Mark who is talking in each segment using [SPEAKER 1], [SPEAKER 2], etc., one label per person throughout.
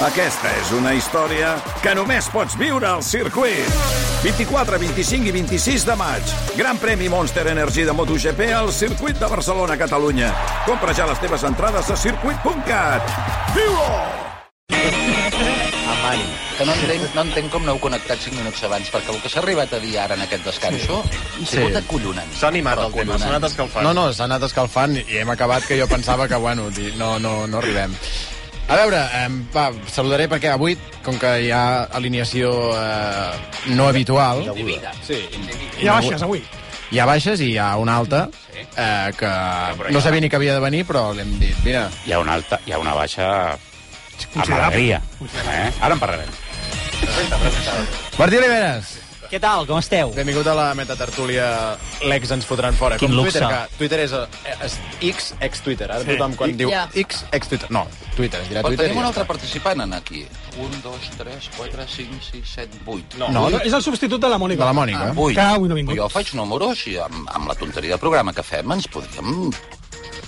[SPEAKER 1] Aquesta és una història que només pots viure al circuit. 24, 25 i 26 de maig. Gran premi Monster Energy de MotoGP al circuit de Barcelona, Catalunya. Compra ja les teves entrades a circuit.cat. Viu-ho!
[SPEAKER 2] Amai, que no entenc, no entenc com no heu connectat 5 minuts abans, perquè el que s'ha arribat a dir ara en aquest descanso sí. ha sigut acollonant.
[SPEAKER 3] S'ha animat el tema, s'ha anat escalfant.
[SPEAKER 4] No, no, s'ha anat escalfant i hem acabat que jo pensava que, bueno, di- no, no, no arribem. A veure, eh, va, saludaré perquè avui, com que hi ha alineació eh, no habitual...
[SPEAKER 5] Sí.
[SPEAKER 4] Hi ha baixes,
[SPEAKER 5] avui.
[SPEAKER 4] Hi ha baixes i hi ha una alta, eh, que no sabia ni que havia de venir, però l'hem dit. Mira,
[SPEAKER 6] Hi ha una, alta, hi ha una baixa amb
[SPEAKER 4] Considerable.
[SPEAKER 6] alegria. Eh? Ara en parlarem.
[SPEAKER 4] Martí Oliveres.
[SPEAKER 7] Què tal, com esteu?
[SPEAKER 4] Benvingut a la metatertúlia L'ex ens fotran fora.
[SPEAKER 7] Quin
[SPEAKER 4] com
[SPEAKER 7] luxe.
[SPEAKER 4] Twitter, que Twitter és, eh, és X, ex-Twitter. Ara
[SPEAKER 2] Sí.
[SPEAKER 4] tothom quan
[SPEAKER 2] I-
[SPEAKER 4] diu
[SPEAKER 2] Ja.
[SPEAKER 4] X, ex-Twitter. No, Twitter, es dirà
[SPEAKER 2] Però
[SPEAKER 4] Twitter.
[SPEAKER 2] tenim
[SPEAKER 4] i
[SPEAKER 2] un
[SPEAKER 4] ja
[SPEAKER 2] altre
[SPEAKER 4] està.
[SPEAKER 2] participant en aquí. 1, 2, 3, 4, 5, 6, 7, 8.
[SPEAKER 4] No,
[SPEAKER 2] Vuit.
[SPEAKER 5] És el substitut de la Mònica.
[SPEAKER 2] Ah, vuit.
[SPEAKER 5] Que avui no ha vingut.
[SPEAKER 2] Jo faig números i amb, amb la tonteria del programa que fem ens podríem...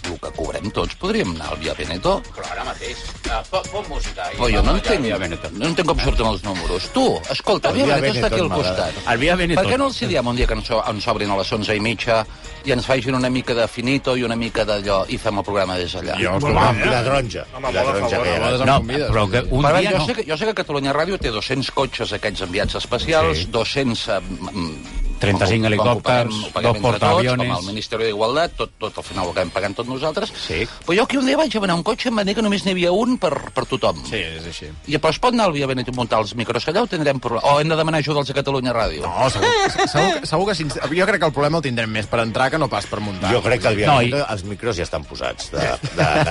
[SPEAKER 2] El que cobrem tots podríem anar al Via Veneto.
[SPEAKER 8] Però ara mateix, uh, pon, pon música.
[SPEAKER 2] Però jo no entenc, no entenc com surten els números. Tu, escolta, el
[SPEAKER 8] El
[SPEAKER 2] Via
[SPEAKER 8] Via
[SPEAKER 2] Veneto està aquí al
[SPEAKER 8] Benetton
[SPEAKER 2] costat.
[SPEAKER 8] m'agrada. El Via Benetton.
[SPEAKER 2] Per què no els hi diem un dia que ens, so- ens obrin a les 11 i mitja i ens facin una mica de finito i una mica d'allò i fem el programa des d'allà?
[SPEAKER 6] Jo, Molt escolta, bé. Viladronja. Home, molt a Viladronja
[SPEAKER 4] eh,
[SPEAKER 6] favor, que era. a vegades em No, convides. però que un
[SPEAKER 2] Però,
[SPEAKER 6] dia
[SPEAKER 2] jo,
[SPEAKER 6] no.
[SPEAKER 2] sé que, jo sé que Catalunya Ràdio té 200 cotxes aquests enviats especials,
[SPEAKER 6] Sí.
[SPEAKER 2] 200... mm,
[SPEAKER 6] 35
[SPEAKER 2] com ho- com ho paguem-
[SPEAKER 6] helicòpters,
[SPEAKER 2] ho paguem
[SPEAKER 6] dos
[SPEAKER 2] entre tots,
[SPEAKER 6] portaaviones.
[SPEAKER 2] Com el Ministeri d'Igualtat, tot, tot al final ho acabem pagant tot nosaltres. Sí. Però jo que un dia vaig demanar un cotxe em van dir que només n'hi havia un per, per tothom.
[SPEAKER 4] Sí, és així.
[SPEAKER 2] I però es pot anar al Via Benet i muntar els micros allà o tindrem problema? O hem de demanar ajuda als de Catalunya Ràdio?
[SPEAKER 4] No, segur, segur, que- segur que... Sincer... Jo crec que el problema el tindrem més per entrar que no pas per muntar.
[SPEAKER 9] Jo crec que el
[SPEAKER 4] No,
[SPEAKER 9] viatge,
[SPEAKER 4] i-
[SPEAKER 9] no, els micros ja estan posats de, de, de,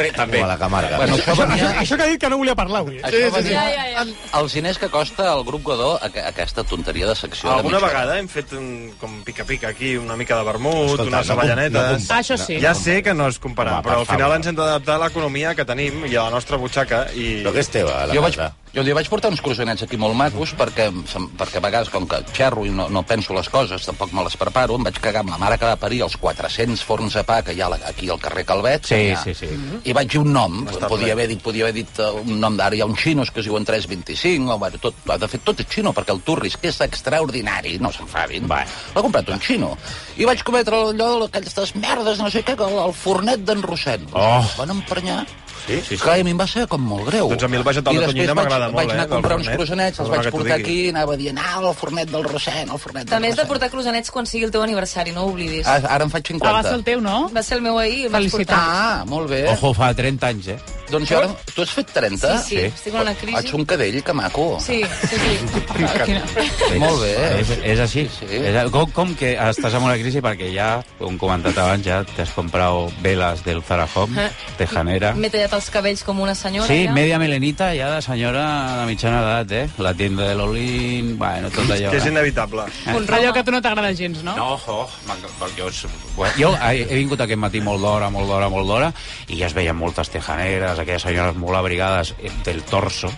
[SPEAKER 9] de,
[SPEAKER 2] també.
[SPEAKER 9] a la Camarga.
[SPEAKER 2] Bueno, això venia...
[SPEAKER 5] Això que ha dit que no volia parlar avui.
[SPEAKER 2] Això sí, venia... Ja, ja, ja. Els diners que costa al grup Godó a- a- aquesta tonteria de secció.
[SPEAKER 3] Alguna
[SPEAKER 2] de mitja
[SPEAKER 3] vegada hem fet un, com pica-pica aquí, una mica de vermut,
[SPEAKER 2] Escolta,
[SPEAKER 3] unes
[SPEAKER 2] no com- no
[SPEAKER 3] avellanetes...
[SPEAKER 2] com- Ah, això sí.
[SPEAKER 3] Ja sé que no és comparar,
[SPEAKER 2] Home,
[SPEAKER 3] però
[SPEAKER 2] per
[SPEAKER 3] al final
[SPEAKER 2] favor.
[SPEAKER 3] ens hem d'adaptar a l'economia que tenim i a la nostra butxaca. I... Però
[SPEAKER 2] que és teva, jo vaig, jo li vaig portar uns croissants aquí molt macos perquè, se'm- perquè a vegades, com que xerro i no, no penso les coses, tampoc me les preparo, em vaig cagar amb la mare que va parir els 400 forns de pa que hi ha la- aquí al carrer Calvet.
[SPEAKER 6] Sí,
[SPEAKER 2] que hi ha.
[SPEAKER 6] sí, sí. Mhm.
[SPEAKER 2] I vaig dir un nom,
[SPEAKER 6] Està
[SPEAKER 2] podia
[SPEAKER 6] ple.
[SPEAKER 2] haver dit, podia haver dit eh, un nom d'ara, hi ha uns xinos que es diuen 325, o, bueno, tot, de fet tot és xino, perquè el turris, que és extraordinari, no s'enfadin, l'ha comprat un xino. I vaig cometre allò d'aquestes merdes, no sé què, que el, el fornet d'en Rossent.
[SPEAKER 3] Oh.
[SPEAKER 2] Van emprenyar
[SPEAKER 3] Sí, sí, sí.
[SPEAKER 2] Clar, i a mi em va ser com molt greu.
[SPEAKER 3] Doncs a mi el vegetatal
[SPEAKER 2] I
[SPEAKER 3] de
[SPEAKER 2] després
[SPEAKER 3] tonyina m'agrada molt,
[SPEAKER 2] Vaig anar
[SPEAKER 3] eh,
[SPEAKER 2] a comprar
[SPEAKER 3] del
[SPEAKER 2] uns
[SPEAKER 3] fornet.
[SPEAKER 2] croissants, els
[SPEAKER 3] Perdona
[SPEAKER 2] vaig
[SPEAKER 3] que t'ho
[SPEAKER 2] portar
[SPEAKER 3] digui.
[SPEAKER 2] aquí, anava dient, ah, el fornet del Rosent, el fornet del
[SPEAKER 10] També has de
[SPEAKER 2] Rosent.
[SPEAKER 10] portar croissanets quan sigui el teu aniversari, no ho oblidis.
[SPEAKER 2] Ah, ara en faig 50.
[SPEAKER 10] Ah, va ser el teu, no? Va ser el meu ahir.
[SPEAKER 2] Ah, molt bé.
[SPEAKER 6] Ojo, fa 30 anys, eh?
[SPEAKER 2] Doncs jo ara... Tu has fet 30?
[SPEAKER 10] Sí, sí, estic en una crisi.
[SPEAKER 2] Ets un cadell, que maco.
[SPEAKER 10] Sí, sí, sí.
[SPEAKER 2] Molt bé.
[SPEAKER 6] És, és així.
[SPEAKER 2] Sí,
[SPEAKER 6] Sí,
[SPEAKER 2] sí.
[SPEAKER 6] sí. És, com, com que estàs en una crisi perquè ja, com comentat abans, ja t'has comprat veles del Zarajom,
[SPEAKER 10] Eh.
[SPEAKER 6] tejanera.
[SPEAKER 10] M'he tallat els cabells com una senyora.
[SPEAKER 6] Sí,
[SPEAKER 10] ja.
[SPEAKER 6] media melenita, ja de senyora de mitjana edat, eh? La tienda de l'Olin, bueno, tot allò.
[SPEAKER 3] Que és
[SPEAKER 6] eh?
[SPEAKER 3] inevitable.
[SPEAKER 11] Allò que a tu no t'agrada gens, no?
[SPEAKER 6] No, jo, jo, Bueno, jo he he vingut aquest matí molt d'hora, molt d'hora, molt d'hora, i ja es veien moltes tejaneres, aquelles senyores molt abrigades eh, del torso,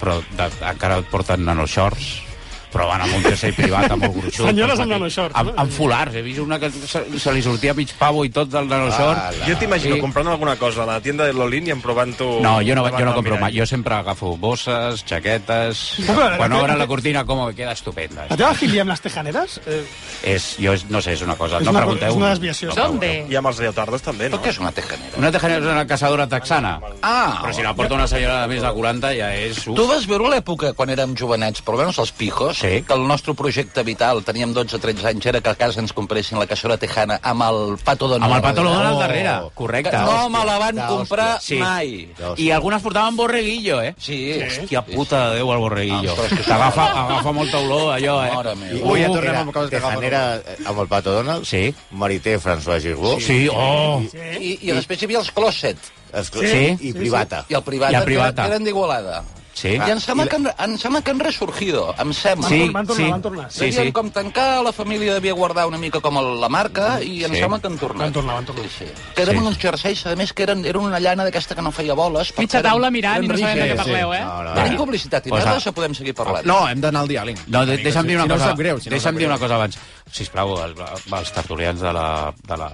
[SPEAKER 6] però de, encara porten nanoshorts, però van amb un jersei privat molt gruixut.
[SPEAKER 5] Senyores
[SPEAKER 6] Amb-
[SPEAKER 5] amb nanoshorts.
[SPEAKER 6] Amb, amb folars, he vist una que se, se li sortia mig pavo i tot del nanoshort.
[SPEAKER 3] Jo t'imagino
[SPEAKER 6] I-
[SPEAKER 3] comprant alguna cosa a la tienda de l'Olin i en provant-ho...
[SPEAKER 6] No, jo no,
[SPEAKER 3] davant
[SPEAKER 6] jo no
[SPEAKER 3] del
[SPEAKER 6] compro mai.
[SPEAKER 3] mirall.
[SPEAKER 6] Jo sempre agafo bosses, jaquetes...
[SPEAKER 5] Però, però,
[SPEAKER 6] Quan
[SPEAKER 5] però,
[SPEAKER 6] obre
[SPEAKER 5] però,
[SPEAKER 6] la cortina, com que queda estupenda.
[SPEAKER 5] La teva filia amb les tejaneres? Eh,
[SPEAKER 6] És, jo, és- no sé, és una cosa...
[SPEAKER 5] És
[SPEAKER 6] no
[SPEAKER 5] una-
[SPEAKER 6] pregunteu.
[SPEAKER 5] és una desviació.
[SPEAKER 6] No
[SPEAKER 5] ¿Dónde?
[SPEAKER 3] pregunteu. I amb els lleotardos també, no?
[SPEAKER 2] Què és una tejanera?
[SPEAKER 6] Una tejanera és una caçadora texana.
[SPEAKER 2] Ah,
[SPEAKER 6] Però si la porta una senyora de més de 40 ja és...
[SPEAKER 2] Tu vas veure l'època, quan érem jovenets, però almenys els pijos, sí. que el nostre projecte vital, teníem 12-13 anys, era que a casa ens compressin la caçola tejana amb el pato de
[SPEAKER 6] Amb el pato Donald al darrere, correcte.
[SPEAKER 2] Que no me la van
[SPEAKER 6] D'hòstia.
[SPEAKER 2] comprar
[SPEAKER 6] Sí.
[SPEAKER 2] mai.
[SPEAKER 6] I algunes portaven borreguillo, eh?
[SPEAKER 2] Sí.
[SPEAKER 6] Hòstia puta de Déu, el borreguillo. T'agafa agafa molta olor, allò, eh?
[SPEAKER 9] Ui, ja tornem amb coses que Tejanera eh, amb el Pato Donald.
[SPEAKER 6] Sí.
[SPEAKER 9] Marité François Girbó.
[SPEAKER 6] Sí, oh.
[SPEAKER 2] I, I després hi havia els closet.
[SPEAKER 9] Es-
[SPEAKER 2] Sí,
[SPEAKER 9] sí,
[SPEAKER 2] sí,
[SPEAKER 9] I privata.
[SPEAKER 2] I el privata,
[SPEAKER 6] I
[SPEAKER 2] que
[SPEAKER 6] el
[SPEAKER 2] era-
[SPEAKER 6] privata.
[SPEAKER 2] Que eren d'Igualada.
[SPEAKER 6] Sí.
[SPEAKER 2] I em sembla, que han, em sembla que han ressorgido, em sembla.
[SPEAKER 6] Sí, Van tornar, sí. van tornar. Sí,
[SPEAKER 2] Devien
[SPEAKER 6] sí.
[SPEAKER 2] com tancar, la família devia guardar una mica com el, la marca, i em
[SPEAKER 6] Sí.
[SPEAKER 2] sembla que han tornat. Van tornar, van tornar. Sí, sí. Que eren
[SPEAKER 6] Sí.
[SPEAKER 2] uns jerseis, a més, que eren, eren una llana d'aquesta que no feia boles. perquè
[SPEAKER 11] Mitja
[SPEAKER 2] eren-
[SPEAKER 11] taula mirant
[SPEAKER 2] eren
[SPEAKER 11] i no sabem de
[SPEAKER 2] rígides.
[SPEAKER 11] què parleu, eh?
[SPEAKER 2] no, no. Tenim publicitat i
[SPEAKER 6] Posa-
[SPEAKER 2] merdes o podem seguir parlant?
[SPEAKER 4] No, hem d'anar al diàleg.
[SPEAKER 6] No, de, deixa'm dir una
[SPEAKER 4] si no us
[SPEAKER 6] cosa.
[SPEAKER 4] sap greu, si no us
[SPEAKER 6] deixa'm
[SPEAKER 4] sap
[SPEAKER 6] dir
[SPEAKER 4] greu.
[SPEAKER 6] una cosa abans. Sisplau, el, els tertulians de la, de la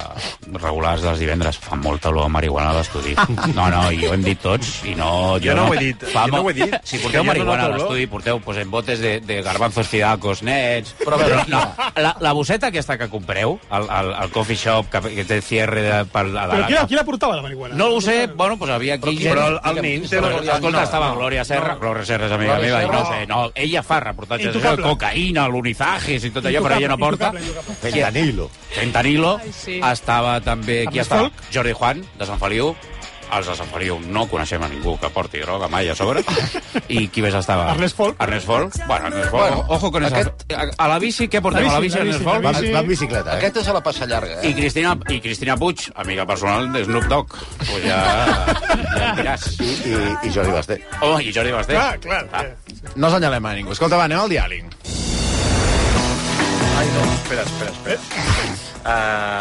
[SPEAKER 6] regulars dels divendres fan molta olor a marihuana a l'estudi. No, no, i ho hem dit tots, i no...
[SPEAKER 3] Jo no ho he dit, jo no
[SPEAKER 6] mo-
[SPEAKER 3] ho he dit.
[SPEAKER 6] Si
[SPEAKER 3] Que jo
[SPEAKER 6] porteu
[SPEAKER 3] no
[SPEAKER 6] marihuana a
[SPEAKER 3] noto olor.
[SPEAKER 6] l'estudi, porteu pues, en botes de, de garbanzos fidacos, nets... Però, però no, la, la bosseta aquesta que compreu, al, al, al coffee shop, que, que té cierre de, per, a
[SPEAKER 5] Però
[SPEAKER 6] la,
[SPEAKER 5] qui la, qui la portava, la marihuana?
[SPEAKER 6] no ho
[SPEAKER 5] eh,
[SPEAKER 6] sé, bueno, pues havia aquí... gent-
[SPEAKER 3] però el- el nin té
[SPEAKER 6] Però,
[SPEAKER 3] una-
[SPEAKER 6] Escolta,
[SPEAKER 3] no,
[SPEAKER 6] estava Glòria Serra, Glòria Serra és amiga
[SPEAKER 3] Glòria
[SPEAKER 6] meva, i no
[SPEAKER 3] Serra.
[SPEAKER 6] sé, no, ella fa reportatges de
[SPEAKER 3] Intocable.
[SPEAKER 6] cocaïna, lunizajes i tot allò, però ella no porta.
[SPEAKER 5] Intocable, intocable.
[SPEAKER 9] Fentanilo.
[SPEAKER 6] Fentanilo.
[SPEAKER 11] Ai, sí.
[SPEAKER 6] Estava també... Qui
[SPEAKER 5] Ernest
[SPEAKER 6] estava?
[SPEAKER 5] Folk.
[SPEAKER 6] Jordi Juan, de Sant Feliu. Els de Sant Feliu no coneixem a ningú que porti droga mai a sobre. I qui més estava?
[SPEAKER 5] Ernest Folk.
[SPEAKER 6] Ernest Folk. Bueno, Ernest Folk.
[SPEAKER 9] Bueno,
[SPEAKER 6] ojo con aquest... A la bici, què portem?
[SPEAKER 5] La
[SPEAKER 6] a la bici,
[SPEAKER 5] bici, la
[SPEAKER 6] Ernest
[SPEAKER 5] bici, la
[SPEAKER 6] Folk?
[SPEAKER 9] Va, va en bicicleta, eh?
[SPEAKER 2] Aquest és a la passa llarga, eh?
[SPEAKER 6] I Cristina, I Cristina Puig, amiga personal de Snoop Dogg. Pues ja, ja em diràs.
[SPEAKER 9] I, i, i Jordi Basté.
[SPEAKER 6] Oh, i Jordi Basté.
[SPEAKER 5] Clar, clar.
[SPEAKER 6] Ah,
[SPEAKER 5] eh. clar.
[SPEAKER 4] No senyalem a ningú. Escolta, va, anem al diàleg.
[SPEAKER 3] Ai, no, espera, espera, espera. Uh,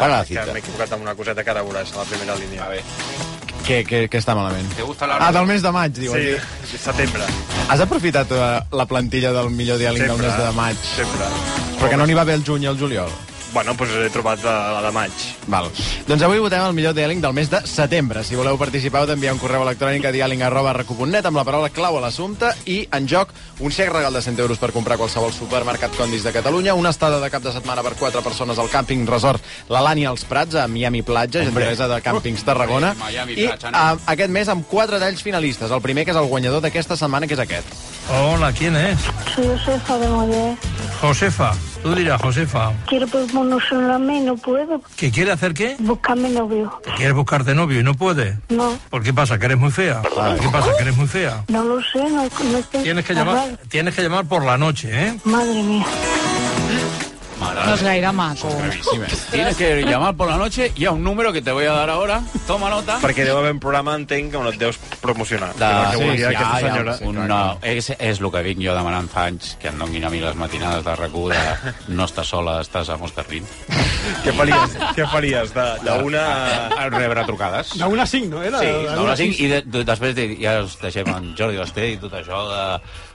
[SPEAKER 9] Para la
[SPEAKER 3] Que
[SPEAKER 9] cinta.
[SPEAKER 3] m'he equivocat amb una coseta que ara veuràs a la primera línia. A veure.
[SPEAKER 4] Què, què, què està malament?
[SPEAKER 6] Te gusta la...
[SPEAKER 4] Ah, del mes de maig, diu.
[SPEAKER 3] Sí, de setembre.
[SPEAKER 4] Has aprofitat eh, la plantilla del millor diàleg del
[SPEAKER 3] Sempre.
[SPEAKER 4] mes de maig,
[SPEAKER 3] Sempre.
[SPEAKER 4] però que no n'hi va bé el juny i el juliol.
[SPEAKER 3] Bueno, doncs he trobat la, la de maig.
[SPEAKER 4] Val. Doncs avui votem el millor diàleg del mes de setembre. Si voleu participar, heu d'enviar un correu electrònic a diàleg arroba recu.net amb la paraula clau a l'assumpte i en joc un xec regal de 100 euros per comprar a qualsevol supermercat Condis de Catalunya, una estada de cap de setmana per quatre persones al càmping resort La Lani als Prats, a Miami Platja, gentilesa de Càmpings Tarragona,
[SPEAKER 6] Hombre, Miami
[SPEAKER 4] i
[SPEAKER 6] Platja, no?
[SPEAKER 4] a, aquest mes amb quatre d'ells finalistes. El primer que és el guanyador d'aquesta setmana, que és aquest.
[SPEAKER 7] Hola, ¿quién es?
[SPEAKER 12] Soy Josefa de Moller.
[SPEAKER 7] Josefa. Tú dirás, Josefa,
[SPEAKER 12] Quiero promocionarme y no puedo.
[SPEAKER 7] ¿que quiere hacer qué?
[SPEAKER 12] Buscarme novio.
[SPEAKER 7] ¿Quieres buscarte novio y no puede?
[SPEAKER 12] No,
[SPEAKER 7] ¿Por qué pasa? ¿Que eres muy fea? ¿Qué pasa? ¿Que eres muy fea?
[SPEAKER 12] no lo sé. No, no sé.
[SPEAKER 7] Tienes que
[SPEAKER 12] Ah,
[SPEAKER 7] llamar,
[SPEAKER 12] vale.
[SPEAKER 7] tienes que llamar por la noche, ¿eh?
[SPEAKER 12] Madre mía.
[SPEAKER 6] Mare
[SPEAKER 11] No és gaire maco.
[SPEAKER 6] Tienes que llamar por la noche y a un número que te voy a dar ahora. Toma nota.
[SPEAKER 3] Perquè deu haver un programa, entenc, que on et deus promocionar.
[SPEAKER 6] De...
[SPEAKER 3] Que és el que volia
[SPEAKER 6] ja,
[SPEAKER 3] aquesta
[SPEAKER 6] ja,
[SPEAKER 3] senyora.
[SPEAKER 6] ah, un- no, és, és el que vinc jo demanant fa anys, que em donguin a mi les matinades de rac de no estàs sola, estàs a Mosterrín.
[SPEAKER 3] Què faries? Què faries? De, de una...
[SPEAKER 5] Ah.
[SPEAKER 6] A rebre trucades.
[SPEAKER 5] De una a cinc, no? Era,
[SPEAKER 6] Sí,
[SPEAKER 5] de
[SPEAKER 6] no, les cinc, i de, de, després de, ja us deixem en Jordi Basté i tot això de,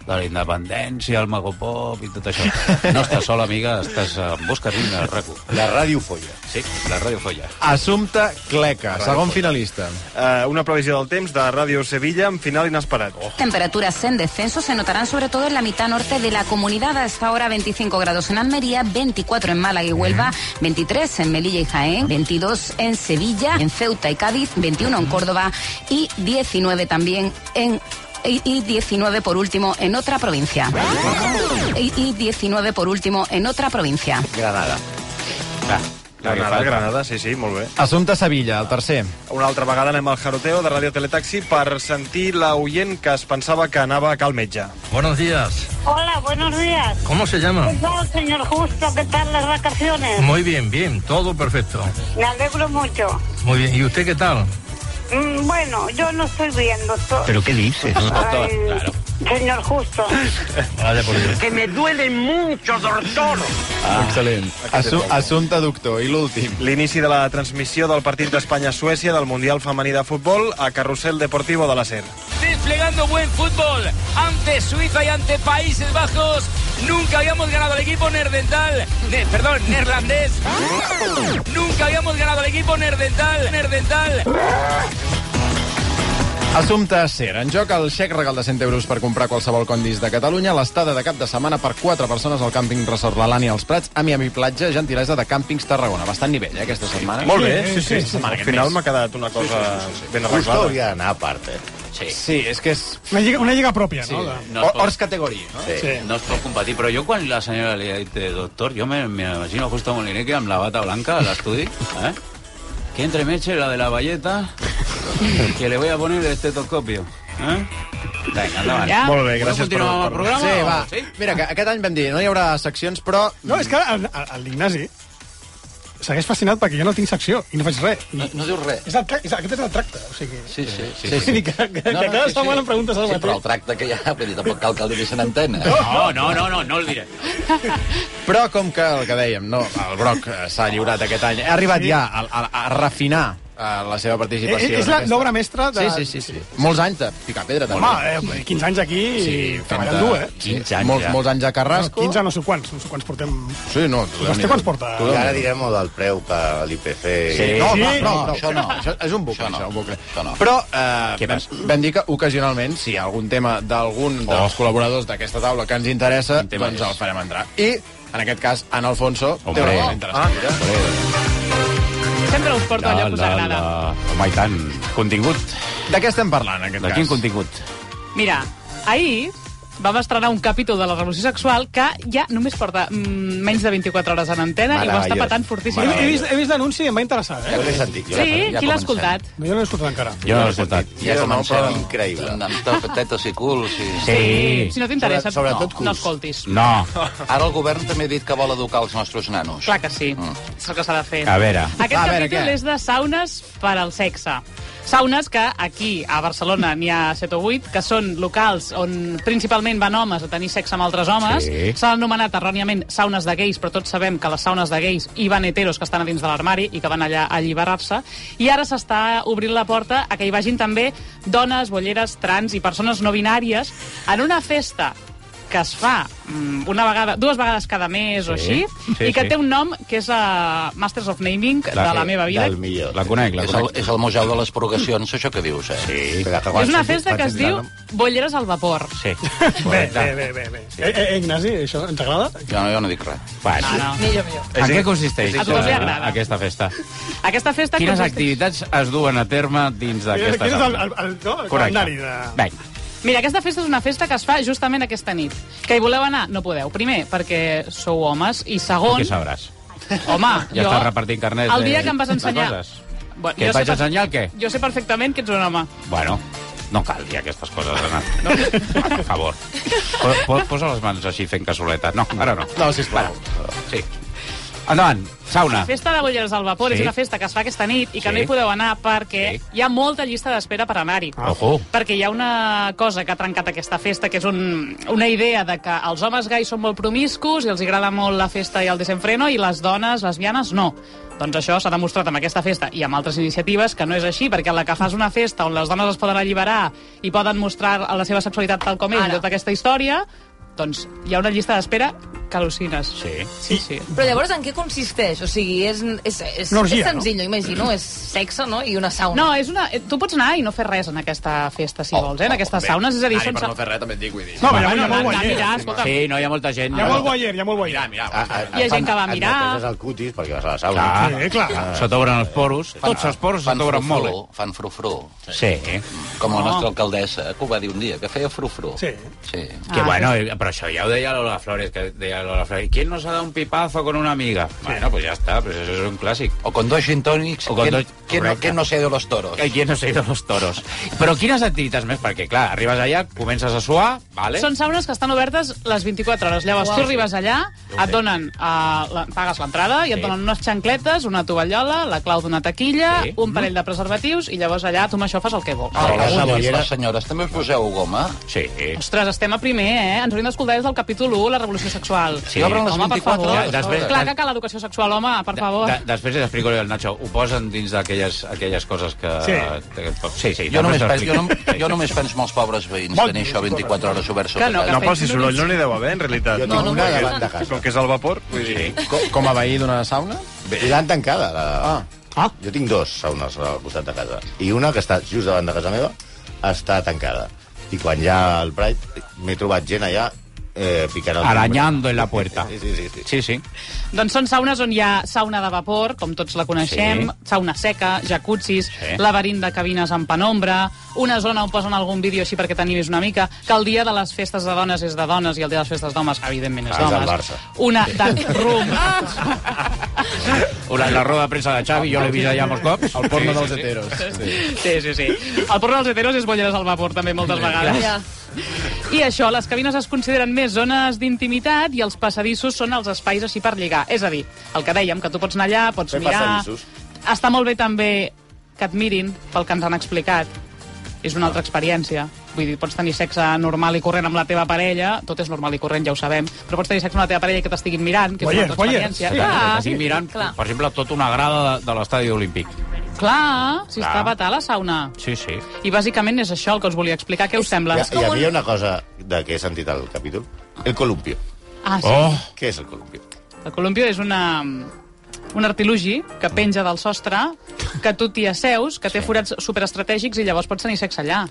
[SPEAKER 6] de la independència, el magopop i tot això. No estàs sola, amiga, estàs en busca de rac
[SPEAKER 9] La ràdio folla.
[SPEAKER 6] Sí, la ràdio folla.
[SPEAKER 4] Assumpte Cleca, segon finalista.
[SPEAKER 3] Eh, una previsió del temps de Ràdio Sevilla amb final inesperat. Oh.
[SPEAKER 13] Temperaturas en descenso se notarán sobre todo en la mitad norte de la comunidad. Hasta ahora 25 grados en Almería, 24 en Málaga y Huelva, 23 en Melilla y Jaén, 22 en Sevilla, en Ceuta y Cádiz, 21 en Córdoba y 19 también en... Y, y 19 por último en otra provincia. Y, y 19 por último en otra provincia.
[SPEAKER 9] Granada.
[SPEAKER 6] Va, la que
[SPEAKER 3] Granada,
[SPEAKER 6] falta.
[SPEAKER 3] Granada, sí, sí, molt bé.
[SPEAKER 4] Assumpte Sevilla, el tercer.
[SPEAKER 3] Una altra vegada anem al jaroteo de Ràdio Teletaxi per sentir la oient que es pensava que anava a cal metge.
[SPEAKER 7] Buenos días.
[SPEAKER 12] Hola, buenos días.
[SPEAKER 7] ¿Cómo se llama?
[SPEAKER 12] ¿Qué tal, señor Justo? ¿Qué tal las vacaciones?
[SPEAKER 7] Muy bien, bien, todo perfecto.
[SPEAKER 12] Me alegro mucho.
[SPEAKER 7] Muy bien. ¿Y usted qué tal?
[SPEAKER 12] Mm, bueno, yo no estoy bien, doctor.
[SPEAKER 7] ¿Pero qué dices?
[SPEAKER 12] Ay,
[SPEAKER 6] Claro.
[SPEAKER 12] Señor Justo.
[SPEAKER 7] Vaya por Dios.
[SPEAKER 8] Que me duele mucho, doctor.
[SPEAKER 4] Ah, Excel·lent. Assu assumpte Doctor, i l'últim.
[SPEAKER 3] L'inici de la transmissió del partit d'Espanya-Suècia del Mundial Femení de Futbol a Carrusel Deportivo de la SER.
[SPEAKER 8] Desplegando buen fútbol ante Suiza y ante Países Bajos. Nunca habíamos ganado al equipo nerdental. ne- perdón, neerlandés. Nunca habíamos ganado al equipo nerdental. Nerdental.
[SPEAKER 4] Assumpte Ser. En joc el xec regal de 100 euros per comprar qualsevol condis de Catalunya, l'estada de cap de setmana per 4 persones al càmping Resort La Lani als Prats, a Miami Platja, gentilesa de Càmpings Tarragona. Bastant nivell, eh, aquesta setmana.
[SPEAKER 3] Ah, Molt bé, sí,
[SPEAKER 5] sí,
[SPEAKER 3] sí.
[SPEAKER 5] sí.
[SPEAKER 3] Al final m'ha quedat una cosa ben
[SPEAKER 9] Justo
[SPEAKER 3] arreglada.
[SPEAKER 9] hauria d'anar a part, eh?
[SPEAKER 4] Sí, és que és...
[SPEAKER 5] Una lliga, una lliga pròpia, no? De...
[SPEAKER 6] No es pot-
[SPEAKER 4] Hors categoria, no? Sí.
[SPEAKER 5] Sí.
[SPEAKER 6] No es pot competir, però jo quan la senyora li ha dit eh, doctor, jo me- me imagino justo Molineque amb la bata blanca a l'estudi, eh? Que entre meche la de la valleta, que le voy a poner el estetoscopio, eh? Vinga, endavant.
[SPEAKER 11] Ja.
[SPEAKER 3] Molt bé,
[SPEAKER 6] Podeu
[SPEAKER 3] gràcies per...
[SPEAKER 6] continuar amb el programa?
[SPEAKER 4] Sí, va.
[SPEAKER 6] Sí?
[SPEAKER 4] Mira, que aquest any vam dir, no hi haurà seccions, però...
[SPEAKER 5] No, és que ara el, el, el Ignasi segueix fascinat perquè jo no tinc secció i no faig res. I
[SPEAKER 2] No, no dius res.
[SPEAKER 5] és el, tra- és, aquest és el tracte. O sigui,
[SPEAKER 2] Sí, sí, sí.
[SPEAKER 5] sí, sí. Que, que, que no, cada setmana em preguntes el
[SPEAKER 2] sí, però el
[SPEAKER 5] mateix.
[SPEAKER 2] tracte que hi ha, vull dir, tampoc cal que el diguis en antena.
[SPEAKER 6] No, no, no, no, no el diré.
[SPEAKER 4] Però com que el que dèiem, no, el Broc eh, s'ha lliurat aquest any, ha arribat ja a, a, a refinar a la seva participació.
[SPEAKER 5] Eh, eh, és
[SPEAKER 4] en
[SPEAKER 5] la-
[SPEAKER 4] aquesta.
[SPEAKER 5] l'obra mestra de-
[SPEAKER 4] Sí, sí, sí, sí. Molts anys de picar pedra, també.
[SPEAKER 5] Home, eh, 15 anys aquí sí, treballant dur, eh?
[SPEAKER 4] 15 anys, molts, molts anys a Carrasco.
[SPEAKER 5] No, 15 no sé quants, no sé quants portem...
[SPEAKER 4] Sí, no.
[SPEAKER 5] Vostè quants porta?
[SPEAKER 9] I ara direm el del preu que l'IPC...
[SPEAKER 4] Sí. No, no, no, no, això no. Això és un bucle,
[SPEAKER 9] Això no.
[SPEAKER 4] això, un bucle. Però eh, vam, vam dir que ocasionalment, si hi ha algun tema d'algun dels col·laboradors d'aquesta taula que ens interessa, doncs el farem entrar. I, en aquest cas, en Alfonso té una cosa interessant.
[SPEAKER 11] Sempre us porto allò que us agrada.
[SPEAKER 6] Home, i tant. Contingut.
[SPEAKER 4] De què estem parlant, en aquest
[SPEAKER 6] de
[SPEAKER 4] cas?
[SPEAKER 6] quin contingut?
[SPEAKER 11] Mira, ahir vam estrenar un capítol de la revolució sexual que ja només porta mm, menys de 24 hores en antena i ho està
[SPEAKER 5] Meravellós.
[SPEAKER 11] patant fortíssim.
[SPEAKER 5] He, he vist, he vist l'anunci i em va interessar, eh?
[SPEAKER 9] Jo l'he sentit, jo
[SPEAKER 11] Sí, qui l'ha escoltat?
[SPEAKER 5] No, jo no l'he escoltat encara.
[SPEAKER 6] Jo no l'he escoltat.
[SPEAKER 9] Ja
[SPEAKER 2] Ja
[SPEAKER 9] és una
[SPEAKER 2] comencem.
[SPEAKER 9] obra increïble.
[SPEAKER 2] Amb tetes i culs. I...
[SPEAKER 11] Si no t'interessa,
[SPEAKER 2] Sobre- sobretot
[SPEAKER 11] no, no
[SPEAKER 2] culs.
[SPEAKER 11] escoltis.
[SPEAKER 6] No.
[SPEAKER 2] Ara el govern també ha dit que vol educar els nostres nanos.
[SPEAKER 11] Clar que sí, és el que s'ha de fer.
[SPEAKER 2] Ah. A veure.
[SPEAKER 11] Aquest
[SPEAKER 2] A veure,
[SPEAKER 11] capítol
[SPEAKER 2] què?
[SPEAKER 11] és de saunes per al sexe. Saunes que aquí, a Barcelona, n'hi ha 7 o 8, que són locals on principalment van homes a tenir sexe amb altres homes.
[SPEAKER 14] Sí.
[SPEAKER 11] S'han anomenat erròniament saunes de gais, però tots sabem que les saunes de gais hi van heteros que estan a dins de l'armari i que van allà a alliberar-se. I ara s'està obrint la porta a que hi vagin també dones, bolleres, trans i persones no binàries en una festa que es fa mm, una vegada, dues vegades cada mes o
[SPEAKER 6] Sí,
[SPEAKER 11] així,
[SPEAKER 6] sí,
[SPEAKER 11] i que
[SPEAKER 6] sí.
[SPEAKER 11] té un nom que és uh, Masters of Naming la, de la meva vida.
[SPEAKER 2] millor.
[SPEAKER 6] La conec, la
[SPEAKER 2] és
[SPEAKER 6] conec.
[SPEAKER 2] El, és el museu de les purgacions, això que dius, eh? Sí.
[SPEAKER 11] És una festa que es diu Bolleres al vapor.
[SPEAKER 6] Sí.
[SPEAKER 5] Bé, bé, bé, bé. bé. Eh, eh, Ignasi, això ens agrada?
[SPEAKER 2] Jo no, jo no dic res.
[SPEAKER 6] Bueno.
[SPEAKER 11] Ah, No,
[SPEAKER 14] Eh.
[SPEAKER 11] no. Millor, millor.
[SPEAKER 6] En què consisteix
[SPEAKER 11] A tu us
[SPEAKER 6] eh,
[SPEAKER 11] agrada.
[SPEAKER 6] aquesta festa?
[SPEAKER 11] Aquesta festa
[SPEAKER 6] Quines
[SPEAKER 11] consisteix-
[SPEAKER 6] activitats es duen a terme dins d'aquesta
[SPEAKER 5] Aquest és el,
[SPEAKER 6] taula?
[SPEAKER 5] el, el, no? el
[SPEAKER 6] Correcte.
[SPEAKER 5] calendari de...
[SPEAKER 6] Vinga.
[SPEAKER 11] Mira, aquesta festa és una festa que es fa justament aquesta nit. Que hi voleu anar? No podeu. Primer, perquè sou homes. I segon...
[SPEAKER 6] Què sabràs?
[SPEAKER 11] Home,
[SPEAKER 6] Ja
[SPEAKER 11] jo...
[SPEAKER 6] estàs repartint carnets
[SPEAKER 11] El dia
[SPEAKER 6] de-
[SPEAKER 11] que em vas
[SPEAKER 6] de
[SPEAKER 11] ensenyar...
[SPEAKER 6] coses.
[SPEAKER 11] Bueno,
[SPEAKER 6] Què
[SPEAKER 11] jo
[SPEAKER 6] et vaig
[SPEAKER 11] sé per-
[SPEAKER 6] ensenyar, el què?
[SPEAKER 11] Jo sé perfectament que ets un home.
[SPEAKER 6] Bueno, no cal dir aquestes coses, Anna. No. Per favor. Po- po- Posa les mans així fent casoleta. No, ara no. No, sisplau. Sí. Endavant, sauna.
[SPEAKER 11] Festa de Bolleres al Vapor
[SPEAKER 6] Ah. Sí.
[SPEAKER 11] és una festa que es fa aquesta nit i que
[SPEAKER 6] Sí.
[SPEAKER 11] no hi podeu anar perquè hi ha molta llista d'espera per anar-hi.
[SPEAKER 6] Ojo.
[SPEAKER 11] Perquè hi ha una cosa que ha trencat aquesta festa, que és un, una idea de que els homes gais són molt promiscus i els agrada molt la festa i el desenfreno i les dones lesbianes no. Doncs això s'ha demostrat amb aquesta festa i amb altres iniciatives que no és així, perquè la que fas una festa on les dones es poden alliberar i poden mostrar la seva sexualitat tal com és i tota aquesta història, doncs hi ha una llista d'espera que al·lucines.
[SPEAKER 6] Sí.
[SPEAKER 11] Sí, sí.
[SPEAKER 14] Però llavors en què consisteix? O sigui, és, és, és,
[SPEAKER 11] Una orgia,
[SPEAKER 14] és senzill, no? imagino, és sexe, no? I una sauna.
[SPEAKER 11] No, és una... eh, Tu pots anar i no fer res en aquesta festa, si vols, eh? En aquestes
[SPEAKER 6] Oh, bé.
[SPEAKER 11] saunes, és a dir,
[SPEAKER 6] Ara,
[SPEAKER 11] són...
[SPEAKER 6] per no fer res, també et dic, vull dir.
[SPEAKER 11] No, però hi ha molt
[SPEAKER 6] anar-
[SPEAKER 11] guayer.
[SPEAKER 6] anar a mirar,
[SPEAKER 11] escolta.
[SPEAKER 6] Sí, no, hi ha molta gent. Ah,
[SPEAKER 5] Hi ha molt guayer, hi ha molt guayer. Mira,
[SPEAKER 9] Ah,
[SPEAKER 6] mira.
[SPEAKER 11] Hi ha gent que va mirar.
[SPEAKER 9] Et neteses el cutis perquè vas a la sauna.
[SPEAKER 4] Ah,
[SPEAKER 9] Ah.
[SPEAKER 6] Clar. Se t'obren els poros. Tots els poros se
[SPEAKER 2] fan
[SPEAKER 6] t'obren
[SPEAKER 2] frufru,
[SPEAKER 6] molt. eh?
[SPEAKER 2] Fan frufru.
[SPEAKER 6] Sí.
[SPEAKER 2] Com la
[SPEAKER 6] No.
[SPEAKER 2] nostra alcaldessa, que ho va dir un dia, que feia frufru.
[SPEAKER 5] Sí.
[SPEAKER 2] Sí.
[SPEAKER 6] Que
[SPEAKER 11] Ah.
[SPEAKER 9] Ah.
[SPEAKER 6] bueno, eh, però això ja ho deia Lola Flores, que deia Lola Flores, ¿quién nos ha dado un pipazo con una amiga? Bueno, pues ya está, pues eso es un clásico.
[SPEAKER 2] O con dos gin tònics,
[SPEAKER 6] O con
[SPEAKER 2] ¿quién-
[SPEAKER 6] dos-
[SPEAKER 2] quién no-
[SPEAKER 6] correcte.
[SPEAKER 2] quién no se ha ido los toros?
[SPEAKER 6] Que qui no s'ha ido a los toros. Però quines activitats més? Perquè, clar, arribes allà, comences a suar, vale?
[SPEAKER 11] Són saunes que estan obertes les 24 hores. Llavors,
[SPEAKER 6] Uau.
[SPEAKER 11] tu arribes allà,
[SPEAKER 6] Jo ho
[SPEAKER 11] et
[SPEAKER 6] sé.
[SPEAKER 11] donen, uh, la, pagues l'entrada i et
[SPEAKER 6] Sí.
[SPEAKER 11] donen unes xancletes, una tovallola, la clau d'una taquilla,
[SPEAKER 2] Sí.
[SPEAKER 6] Mhm.
[SPEAKER 11] un parell de preservatius i llavors allà tu amb això fas el que vols.
[SPEAKER 2] Però les senyores, les senyores també us poseu goma?
[SPEAKER 6] Sí.
[SPEAKER 11] Ostres, estem a primer, eh? Ens hauríem d'escoltar des del capítol 1, la revolució sexual.
[SPEAKER 6] Sí, obren les
[SPEAKER 11] home,
[SPEAKER 6] 24
[SPEAKER 11] per favor.
[SPEAKER 6] hores. Ja, després-
[SPEAKER 11] Clar que cal educació sexual, home, per favor.
[SPEAKER 6] De, després li explico al Nacho, ho posen dins d'aquelles aquelles coses que...
[SPEAKER 11] Sí.
[SPEAKER 6] que- sí, sí.
[SPEAKER 2] Jo només,
[SPEAKER 6] després
[SPEAKER 2] penso,
[SPEAKER 6] t'ho
[SPEAKER 2] jo,
[SPEAKER 6] explico.
[SPEAKER 2] no, jo només penso en els pobres veïns,
[SPEAKER 6] Bon-
[SPEAKER 2] tenir això 24 hores obert sota
[SPEAKER 6] Que no, que
[SPEAKER 2] casa.
[SPEAKER 3] No, pel si soroll no n'hi deu haver, en realitat.
[SPEAKER 9] Jo tinc una davant de casa.
[SPEAKER 3] Com que és el vapor, vull dir...
[SPEAKER 4] Com, com a veí d'una sauna?
[SPEAKER 9] I l'han tancada. La... Ah. Jo tinc dos saunes al costat de casa. I una que està just davant de casa meva està tancada. I quan hi ha el Pride m'he trobat gent allà eh, picant el...
[SPEAKER 6] Arañando en la puerta.
[SPEAKER 9] Sí, sí, sí. sí.
[SPEAKER 6] sí, sí.
[SPEAKER 11] Doncs són saunes on hi ha sauna de vapor, com tots la coneixem,
[SPEAKER 6] Sí.
[SPEAKER 11] sí. sauna seca, jacuzzis,
[SPEAKER 6] Sí.
[SPEAKER 11] sí. laberint de cabines amb penombra, una zona on posen algun vídeo així perquè t'animis una mica, que el dia de les festes de dones és de dones i el dia de les festes d'homes, evidentment, és
[SPEAKER 6] Ah, és el
[SPEAKER 11] d'homes.
[SPEAKER 6] Barça.
[SPEAKER 11] Una dark room.
[SPEAKER 6] La, la roda de premsa de Xavi, jo l'he vist allà molts cops. El
[SPEAKER 4] porno dels
[SPEAKER 6] heteros. Sí.
[SPEAKER 11] Sí, sí, sí. El porno dels heteros és bolleres al vapor, també, moltes vegades.
[SPEAKER 14] Ja.
[SPEAKER 11] I això, les cabines es consideren més zones d'intimitat i els passadissos són els espais així per lligar. És a dir, el que dèiem, que tu pots anar allà, pots
[SPEAKER 9] Fer
[SPEAKER 11] mirar...
[SPEAKER 9] passadissos.
[SPEAKER 11] Està molt bé també que et mirin pel que ens han explicat. És una altra experiència. Vull dir, pots tenir sexe normal i corrent amb la teva parella, tot és normal i corrent, ja ho sabem, però pots tenir sexe amb la teva parella i que t'estiguin mirant, que és una altra experiència.
[SPEAKER 6] Clar,
[SPEAKER 11] Ah. Clar,
[SPEAKER 6] Estic mirant,
[SPEAKER 11] clar.
[SPEAKER 6] per exemple, tota una grada de, de l'estadi olímpic.
[SPEAKER 11] Clar, si
[SPEAKER 9] Clar.
[SPEAKER 11] està batà la sauna.
[SPEAKER 9] Sí, sí.
[SPEAKER 11] I bàsicament és això el que us volia explicar. Què us
[SPEAKER 9] Hi,
[SPEAKER 11] sembla?
[SPEAKER 9] ha- hi havia una cosa de què he sentit al capítol. El columpio.
[SPEAKER 11] Ah, sí.
[SPEAKER 6] Oh.
[SPEAKER 9] Què és el columpio?
[SPEAKER 11] El columpio és una, un artilugi que penja del sostre, que tu t'hi asseus, que té forats superestratègics i llavors pots tenir sexe
[SPEAKER 6] Ah,
[SPEAKER 11] allà.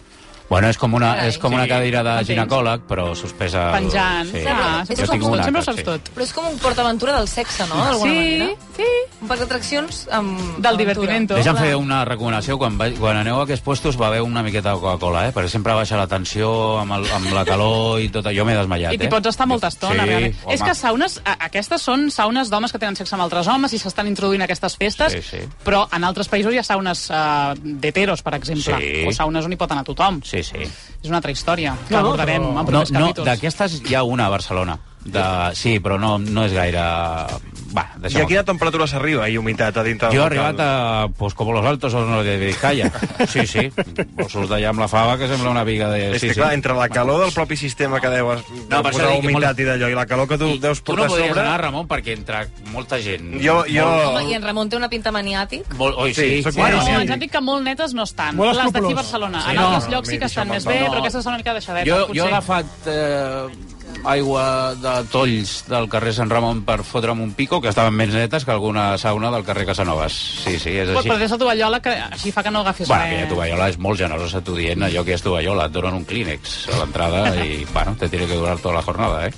[SPEAKER 6] Bueno, és com una, és com una
[SPEAKER 11] Sí.
[SPEAKER 6] cadira de
[SPEAKER 11] Entens.
[SPEAKER 6] ginecòleg, però sospesa... el-
[SPEAKER 11] Penjant.
[SPEAKER 6] Sí.
[SPEAKER 11] Ah,
[SPEAKER 6] jo tinc una,
[SPEAKER 11] sempre ho
[SPEAKER 6] sí.
[SPEAKER 11] saps tot.
[SPEAKER 14] Però és com un portaventura del sexe, no? D'alguna
[SPEAKER 11] Sí,
[SPEAKER 14] manera. Sí, Un parc d'atraccions amb...
[SPEAKER 11] Del divertimento.
[SPEAKER 6] Deixa'm fer una recomanació. Quan, va, quan aneu a aquests puestos, beveu una miqueta de Coca-Cola, eh? Perquè sempre baixa la tensió amb, el, amb la calor i tot. Jo m'he desmaiat,
[SPEAKER 11] I t'hi
[SPEAKER 6] eh?
[SPEAKER 11] pots estar molta estona,
[SPEAKER 6] Sí,
[SPEAKER 11] realment.
[SPEAKER 6] home.
[SPEAKER 11] És que saunes, a- aquestes són saunes d'homes que tenen sexe amb altres homes i s'estan introduint a aquestes festes,
[SPEAKER 6] Sí, sí.
[SPEAKER 11] però en altres països hi ha saunes uh, d'heteros, per exemple,
[SPEAKER 6] Sí.
[SPEAKER 11] o saunes on hi pot anar tothom.
[SPEAKER 6] Sí, sí.
[SPEAKER 11] És una altra història, que
[SPEAKER 6] No, no,
[SPEAKER 11] no, abordarem no, en
[SPEAKER 6] No,
[SPEAKER 11] propers
[SPEAKER 6] no
[SPEAKER 11] capítols.
[SPEAKER 6] d'aquestes hi ha una a Barcelona. De... Sí, però no, no és gaire... Va,
[SPEAKER 3] I
[SPEAKER 6] deixa'm...
[SPEAKER 3] a quina temperatura s'arriba i humitat a dintre del
[SPEAKER 6] Jo he
[SPEAKER 3] local?
[SPEAKER 6] arribat a, pues, com los altos o no de Vizcaya. Sí, sí. Vossos d'allà amb la fava que sembla una viga de...
[SPEAKER 3] És
[SPEAKER 6] Sí,
[SPEAKER 3] que,
[SPEAKER 6] sí.
[SPEAKER 3] clar, entre la calor del propi sistema que deus
[SPEAKER 6] No,
[SPEAKER 3] no,
[SPEAKER 6] per això
[SPEAKER 3] posar
[SPEAKER 6] dic que
[SPEAKER 3] humitat
[SPEAKER 6] molt-
[SPEAKER 3] i d'allò, i la calor que tu deus
[SPEAKER 6] Tu no
[SPEAKER 3] portar a
[SPEAKER 6] podries
[SPEAKER 3] sobre...
[SPEAKER 6] anar, Ramon, perquè entre molta gent...
[SPEAKER 3] Jo- jo-
[SPEAKER 14] Home, i en Ramon té una pinta maniàtic.
[SPEAKER 6] Molt, oi,
[SPEAKER 3] Sí,
[SPEAKER 6] sí.
[SPEAKER 3] soc
[SPEAKER 6] sí,
[SPEAKER 11] No,
[SPEAKER 6] sí.
[SPEAKER 11] ens han dit que molt netes no estan.
[SPEAKER 6] Molt
[SPEAKER 11] Les d'aquí
[SPEAKER 6] escrupolós.
[SPEAKER 11] a Barcelona.
[SPEAKER 6] Sí,
[SPEAKER 11] en altres
[SPEAKER 6] no,
[SPEAKER 11] llocs sí
[SPEAKER 6] mira,
[SPEAKER 11] que estan
[SPEAKER 6] això
[SPEAKER 11] més
[SPEAKER 6] me'n
[SPEAKER 11] bé,
[SPEAKER 6] va.
[SPEAKER 11] però aquestes són una mica deixadetes,
[SPEAKER 6] Jo,
[SPEAKER 11] potser.
[SPEAKER 6] jo he agafat eh, aigua de tolls del carrer Sant Ramon per fotre'm un pico, que estaven més netes que alguna sauna del carrer Casanovas. Sí, sí, és
[SPEAKER 11] Però,
[SPEAKER 6] així.
[SPEAKER 11] però des de tovallola, que així fa que no agafis
[SPEAKER 6] Bueno, aquella
[SPEAKER 11] res.
[SPEAKER 6] tovallola és molt generosa, t'ho dient, allò que és tovallola, et donen un clínex a l'entrada i, bueno, te tiene que durar tota la jornada, eh?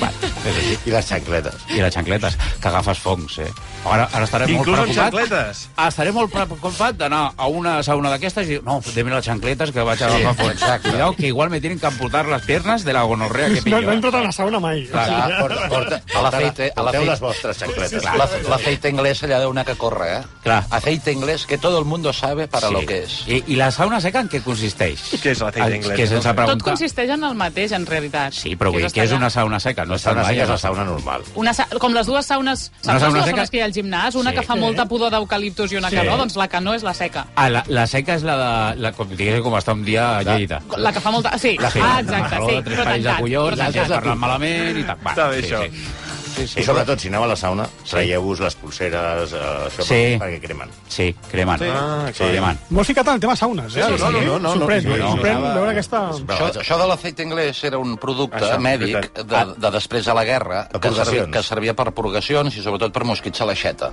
[SPEAKER 6] Bueno, és
[SPEAKER 9] I les xancletes.
[SPEAKER 6] I les xancletes, que agafes fongs, eh? Ara, ara estaré molt
[SPEAKER 3] Inclús amb
[SPEAKER 6] preocupat.
[SPEAKER 3] xancletes.
[SPEAKER 6] Ah, estaré molt preocupat d'anar a una sauna d'aquestes i dir, no, deme les xancletes que vaig a agafar
[SPEAKER 9] Sí,
[SPEAKER 6] fongs.
[SPEAKER 9] exacte.
[SPEAKER 6] Cuidao, que igual me tienen que amputar les piernas de la gonorrea que
[SPEAKER 5] No,
[SPEAKER 6] pillo. eh?
[SPEAKER 5] no he entrat a la sauna mai.
[SPEAKER 6] Clar,
[SPEAKER 5] O sigui,
[SPEAKER 9] Porta, porta,
[SPEAKER 2] A l'aceite... a
[SPEAKER 9] Porteu
[SPEAKER 2] l'aceite-
[SPEAKER 9] les vostres xancletes.
[SPEAKER 2] Clar, la- L'aceite inglés allà deu anar que corre, eh?
[SPEAKER 6] Clar.
[SPEAKER 2] Aceite inglés que todo el mundo sabe para lo que es.
[SPEAKER 6] I, I la sauna seca en què consisteix? Què és
[SPEAKER 2] l'aceite
[SPEAKER 3] inglés?
[SPEAKER 6] Que sense
[SPEAKER 11] Tot
[SPEAKER 6] preguntar.
[SPEAKER 11] consisteix en el mateix, en realitat.
[SPEAKER 6] Sí, però vull dir que és una sauna seca, no està
[SPEAKER 9] sauna
[SPEAKER 6] mai
[SPEAKER 9] seca és
[SPEAKER 6] a
[SPEAKER 9] la sauna normal.
[SPEAKER 11] Una, sa- com les dues saunes... Saps les
[SPEAKER 6] sauna
[SPEAKER 11] dues
[SPEAKER 6] seca?
[SPEAKER 11] saunes que hi ha al gimnàs? Una
[SPEAKER 6] Sí.
[SPEAKER 11] que fa
[SPEAKER 6] Sí.
[SPEAKER 11] molta pudor d'eucaliptus i una
[SPEAKER 6] Sí.
[SPEAKER 11] que no, doncs la que no és la seca.
[SPEAKER 6] Ah, la, la seca és la de... La, com, diguéssim, com està un dia a Lleida.
[SPEAKER 11] La que fa molta... Sí,
[SPEAKER 6] La
[SPEAKER 11] ah, exacte, sí,
[SPEAKER 6] de tres
[SPEAKER 11] però
[SPEAKER 6] pares de
[SPEAKER 11] tancat. però
[SPEAKER 6] collons, l'altre
[SPEAKER 11] tancat.
[SPEAKER 6] és parlant malament i tal. Va,
[SPEAKER 9] Està bé,
[SPEAKER 6] sí,
[SPEAKER 9] això.
[SPEAKER 6] Sí.
[SPEAKER 9] I sobretot, si aneu a la sauna, traieu-vos les pulseres, eh, això,
[SPEAKER 6] Sí.
[SPEAKER 9] perquè- perquè cremen.
[SPEAKER 6] Sí, cremen.
[SPEAKER 9] Sí. Ah,
[SPEAKER 6] sí. cremen.
[SPEAKER 5] M'ho has ficat en el tema saunes, eh?
[SPEAKER 2] Sí, sí, sí. No, no, no,
[SPEAKER 5] sorprèn,
[SPEAKER 2] no, no.
[SPEAKER 5] sorprèn
[SPEAKER 2] No.
[SPEAKER 5] veure aquesta...
[SPEAKER 2] Això, això de l'aceite anglès era un producte
[SPEAKER 5] Això,
[SPEAKER 2] això, mèdic
[SPEAKER 5] veritat.
[SPEAKER 2] de, de després de la guerra que
[SPEAKER 9] purgacions.
[SPEAKER 2] servia, que servia per purgacions i sobretot per mosquits a l'aixeta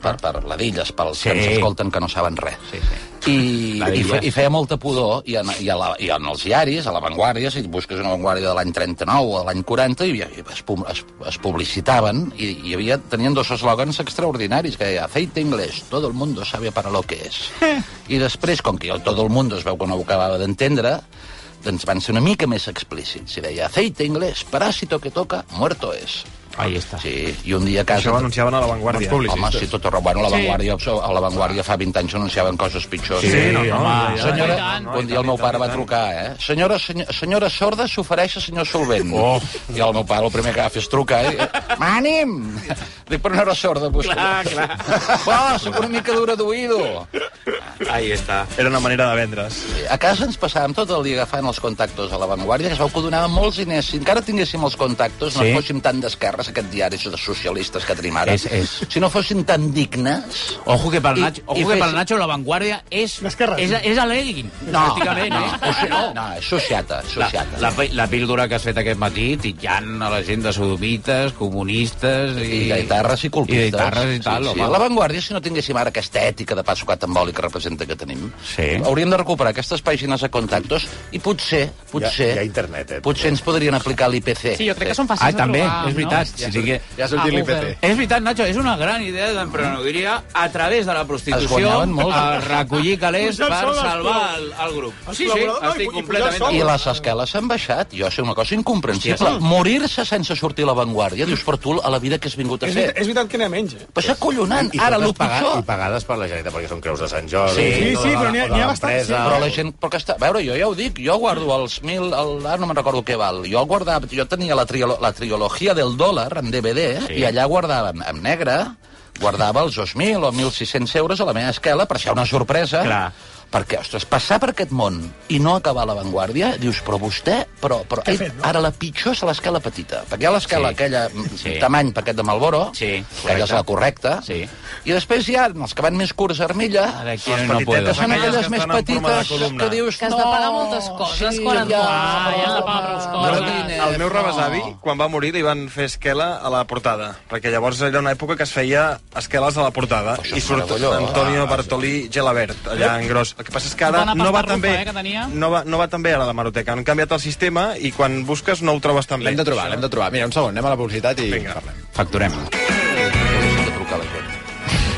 [SPEAKER 2] per, per ladilles, pels Ah. sí. que ens escolten que no saben res. Sí, sí. I,
[SPEAKER 6] La
[SPEAKER 2] i,
[SPEAKER 6] dilla.
[SPEAKER 2] fe, I feia molta pudor, i, en, i, a la, i en els diaris, a l'avantguàrdia, si busques una vanguàrdia de l'any 39 o de l'any 40, hi havia, es, pu- es, es publicitaven i hi havia, tenien dos eslògans extraordinaris, que deia aceite inglés, todo el mundo sabe para lo que es. I després, com que tot el món es veu que no ho acabava d'entendre, doncs van ser una mica més explícits. I deia, aceite inglés, parásito que toca, muerto es.
[SPEAKER 6] Ahí està.
[SPEAKER 2] Sí, i un dia a casa...
[SPEAKER 3] Això ho anunciaven a La Vanguardia.
[SPEAKER 2] Doncs Home, si tot arreu, bueno, a La
[SPEAKER 3] Sí.
[SPEAKER 2] Vanguardia, a La Vanguardia fa 20 anys anunciaven coses pitjors.
[SPEAKER 6] Sí, Sí, no, no, home. ja, ja.
[SPEAKER 2] Senyora,
[SPEAKER 6] I tant.
[SPEAKER 2] un dia el meu pare va trucar, eh? Senyora, senyor, senyora sorda s'ofereix a senyor solvent. Oh. I el meu pare el primer que va fer és trucar, eh? M'ànim! Dic, però no era sorda, vostè.
[SPEAKER 6] Clar, clar.
[SPEAKER 2] Oh, soc una mica dura d'oïdo.
[SPEAKER 6] Ahí està.
[SPEAKER 3] Era una manera de vendre's.
[SPEAKER 2] A casa ens passàvem tot el dia agafant els contactos a la Vanguardia, que es veu que donaven molts diners. Si encara tinguéssim els contactos, no
[SPEAKER 6] Sí.
[SPEAKER 2] fóssim tan d'esquerres, aquest diari de socialistes que tenim ara.
[SPEAKER 6] És- és.
[SPEAKER 2] Si no fóssim tan dignes...
[SPEAKER 6] Ojo que pel
[SPEAKER 2] I-
[SPEAKER 6] Nacho,
[SPEAKER 2] i
[SPEAKER 6] ojo que
[SPEAKER 2] fes-
[SPEAKER 6] pel Nacho la vanguardia és...
[SPEAKER 2] D'esquerres.
[SPEAKER 6] És, és a l'Elgin,
[SPEAKER 2] No,
[SPEAKER 6] pràcticament,
[SPEAKER 2] no,
[SPEAKER 6] eh?
[SPEAKER 2] és- no, és sociata, és
[SPEAKER 6] La,
[SPEAKER 2] sociata.
[SPEAKER 6] la, pi- la píldora que has fet aquest matí, titllant a la gent de sodomites, comunistes... I,
[SPEAKER 2] I guitarres i culpistes.
[SPEAKER 6] I guitarres i tal,
[SPEAKER 2] sí, sí.
[SPEAKER 6] home.
[SPEAKER 2] A la Vanguardia, si no tinguéssim ara aquesta ètica de pa sucat amb oli que representa que tenim,
[SPEAKER 6] Sí.
[SPEAKER 2] hauríem de recuperar aquestes pàgines a contactos i potser, potser...
[SPEAKER 9] Hi ha- hi ha internet, eh?
[SPEAKER 2] Potser ens podrien aplicar l'IPC.
[SPEAKER 11] Sí, jo crec que són fàcils
[SPEAKER 6] ah, també,
[SPEAKER 11] de trobar.
[SPEAKER 6] és veritat.
[SPEAKER 11] No?
[SPEAKER 6] si tingué-
[SPEAKER 2] ja ha sortit
[SPEAKER 6] Ah,
[SPEAKER 2] l'IPC.
[SPEAKER 6] Google. És veritat, Nacho, és una gran idea d'emprenedoria a través de la
[SPEAKER 2] Es
[SPEAKER 6] prostitució
[SPEAKER 2] guanyaven molt.
[SPEAKER 6] a recollir calés
[SPEAKER 2] Pujar
[SPEAKER 6] per
[SPEAKER 2] el sou dels
[SPEAKER 6] salvar el,
[SPEAKER 2] col·laboradors.
[SPEAKER 6] el grup. Sí, sí, estic completament...
[SPEAKER 2] I
[SPEAKER 6] d'acord.
[SPEAKER 2] les esqueles han baixat. Jo sé una cosa incomprensible.
[SPEAKER 6] Hòstia, sí.
[SPEAKER 2] Morir-se sense sortir a l'avantguàrdia, dius, per tu, a la vida que has vingut a
[SPEAKER 5] És
[SPEAKER 2] fer.
[SPEAKER 5] veritat, és veritat que n'hi ha menys, eh?
[SPEAKER 2] Però és acollonant.
[SPEAKER 9] I
[SPEAKER 2] Ara,
[SPEAKER 9] totes
[SPEAKER 2] el
[SPEAKER 9] paga-
[SPEAKER 2] pitjor...
[SPEAKER 9] I pagades per la Generalitat, perquè són creus de Sant Jordi. tota la- tota l'empresa.
[SPEAKER 2] Però la gent... Però que està, a veure, jo ja ho dic, jo guardo els mil... El, ara no me'n recordo què val. Jo el guardava... Jo tenia la, triolo, la triologia del dòlar en DVD sí. i allà guardava en, en negre guardava els 2.000 o 1.600 euros a la meva esquela per ser una sorpresa. Clar. Perquè, ostres, passar per aquest món i no acabar a l'avantguàrdia, dius, però vostè, però, però ell, fet, no? ara la pitjor és a l'escala petita. Perquè hi ha l'escala
[SPEAKER 6] Sí.
[SPEAKER 2] sí. aquella, mm,
[SPEAKER 6] Sí.
[SPEAKER 2] tamany paquet de Malboro, sí, aquella és la correcta,
[SPEAKER 6] Sí.
[SPEAKER 2] i després hi ha els que van més curts a armilla, les
[SPEAKER 6] quiero y no
[SPEAKER 2] petitetes
[SPEAKER 6] puedo.
[SPEAKER 2] són
[SPEAKER 6] Aquelles
[SPEAKER 2] aquelles
[SPEAKER 6] que
[SPEAKER 2] més
[SPEAKER 6] estan en forma de
[SPEAKER 2] petites
[SPEAKER 6] columna.
[SPEAKER 2] que dius...
[SPEAKER 14] Que has de pagar moltes coses quan et mors.
[SPEAKER 11] ja has de pagar prou coses.
[SPEAKER 3] El meu rebesavi, quan va morir, li van fer esquela a la portada, perquè llavors era una època que es feia esqueles a la portada, i surt
[SPEAKER 9] meravellós.
[SPEAKER 3] Antonio Bartolí Gelabert, allà en gros. El que passa és que ara
[SPEAKER 11] Bona
[SPEAKER 3] no va
[SPEAKER 11] pasta
[SPEAKER 3] tan
[SPEAKER 11] rufa,
[SPEAKER 3] bé,
[SPEAKER 11] eh, que tenia.
[SPEAKER 3] no va, no va tan bé ara la maroteca. Han canviat el sistema i quan busques no ho trobes tan bé.
[SPEAKER 4] L'hem de trobar, l'hem de trobar. Mira, un segon, anem a la publicitat i Vinga. parlem.
[SPEAKER 6] Facturem.
[SPEAKER 2] Hauríem de trucar a la gent.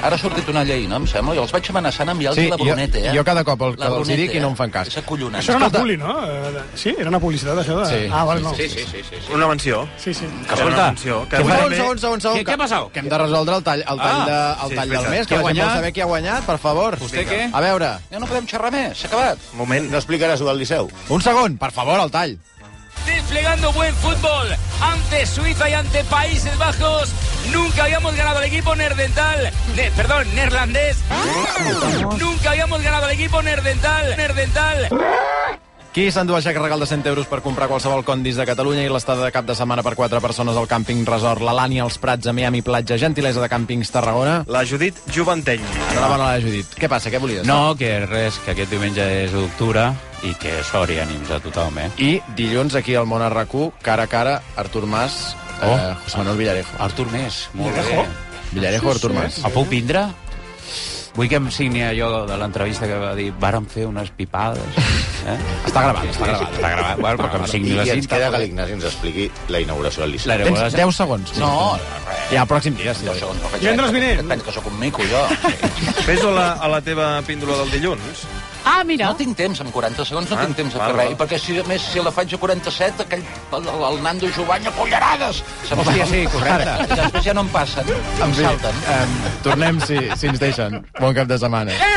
[SPEAKER 2] Ara ha sortit una llei, no? Em sembla. Jo els vaig amenaçant a enviar-los
[SPEAKER 4] Sí,
[SPEAKER 2] la
[SPEAKER 4] jo-
[SPEAKER 2] Brunete, eh?
[SPEAKER 4] jo cada cop el-
[SPEAKER 2] La
[SPEAKER 4] els hi
[SPEAKER 2] Brunete,
[SPEAKER 4] dic i no em fan cas.
[SPEAKER 2] És acollonant.
[SPEAKER 5] Això era una puli, no? Eh, de- Sí, era una publicitat, això de...
[SPEAKER 4] Sí.
[SPEAKER 5] ah, val, no.
[SPEAKER 4] Sí, sí, sí,
[SPEAKER 3] Una menció.
[SPEAKER 5] Sí, sí.
[SPEAKER 3] Escolta,
[SPEAKER 4] un
[SPEAKER 3] que eh? avui
[SPEAKER 4] segon,
[SPEAKER 3] també-
[SPEAKER 4] segon, segon, segon,
[SPEAKER 3] Què- què ha passat?
[SPEAKER 4] Que hem de resoldre el tall, el tall,
[SPEAKER 3] Ah,
[SPEAKER 4] de,
[SPEAKER 3] sí,
[SPEAKER 4] el
[SPEAKER 3] és
[SPEAKER 4] tall del
[SPEAKER 3] veritat.
[SPEAKER 4] mes,
[SPEAKER 3] Qui
[SPEAKER 4] que
[SPEAKER 3] ha
[SPEAKER 4] la gent vol
[SPEAKER 3] guanyat?
[SPEAKER 4] saber qui ha guanyat, per favor.
[SPEAKER 3] Vostè què?
[SPEAKER 4] A veure,
[SPEAKER 2] Ja no podem xerrar més, s'ha acabat.
[SPEAKER 3] Moment.
[SPEAKER 9] No explicaràs-ho al Liceu.
[SPEAKER 4] un segon, per favor, el tall.
[SPEAKER 8] Desplegando buen fútbol ante Suiza y ante Países Bajos. Nunca habíamos ganado al equipo nerdental. ne- perdón, neerlandés. Nunca habíamos ganado al equipo nerdental. Nerdental.
[SPEAKER 4] Qui s'endú a xec regal de 100 euros per comprar qualsevol condis de Catalunya i l'estada de cap de setmana per 4 persones al càmping Resort La Lani, als Prats, a Miami Platja, Gentilesa de Càmpings Tarragona?
[SPEAKER 3] La Judit Juventeny.
[SPEAKER 4] Enhorabona a la Judit. Què passa, què volies?
[SPEAKER 6] No, que res, que aquest diumenge és u d'octubre i que sort i ànims a tothom, eh?
[SPEAKER 4] I dilluns aquí al Món RAC1, cara a cara, Artur Mas, oh. eh, José Manuel Villarejo.
[SPEAKER 6] Artur Mas, molt
[SPEAKER 4] Villarejo?
[SPEAKER 6] bé.
[SPEAKER 4] Villarejo, Artur Mas.
[SPEAKER 6] El puc vindre? Vull que em signi allò de l'entrevista que va dir vàrem fer unes pipades. Eh?
[SPEAKER 4] Està gravat, està gravat.
[SPEAKER 6] Està gravat, bueno, però que em
[SPEAKER 9] I,
[SPEAKER 6] signi la
[SPEAKER 9] I ens
[SPEAKER 6] cinta.
[SPEAKER 9] queda que l'Ignasi ens expliqui la inauguració del Liceu.
[SPEAKER 6] La inauguració-
[SPEAKER 4] Tens 10 segons.
[SPEAKER 2] No,
[SPEAKER 4] I al pròxim dia, sí.
[SPEAKER 5] Divendres vinent.
[SPEAKER 2] Et penso que sóc un mico, jo.
[SPEAKER 3] Fes a la, a la teva píndola del dilluns.
[SPEAKER 11] Ah, mira.
[SPEAKER 2] No tinc temps, en 40 segons no
[SPEAKER 3] Ah,
[SPEAKER 2] tinc temps a
[SPEAKER 3] val,
[SPEAKER 2] fer res.
[SPEAKER 3] val.
[SPEAKER 2] I perquè, si, a més, si la faig a 47, aquell, el, el, el Nando Jovany a cullerades! Se m'ho
[SPEAKER 4] Hòstia, sí, correcte.
[SPEAKER 2] I després ja no em passen, em
[SPEAKER 4] fi,
[SPEAKER 2] salten.
[SPEAKER 4] em, tornem si, si ens deixen. Bon cap de setmana.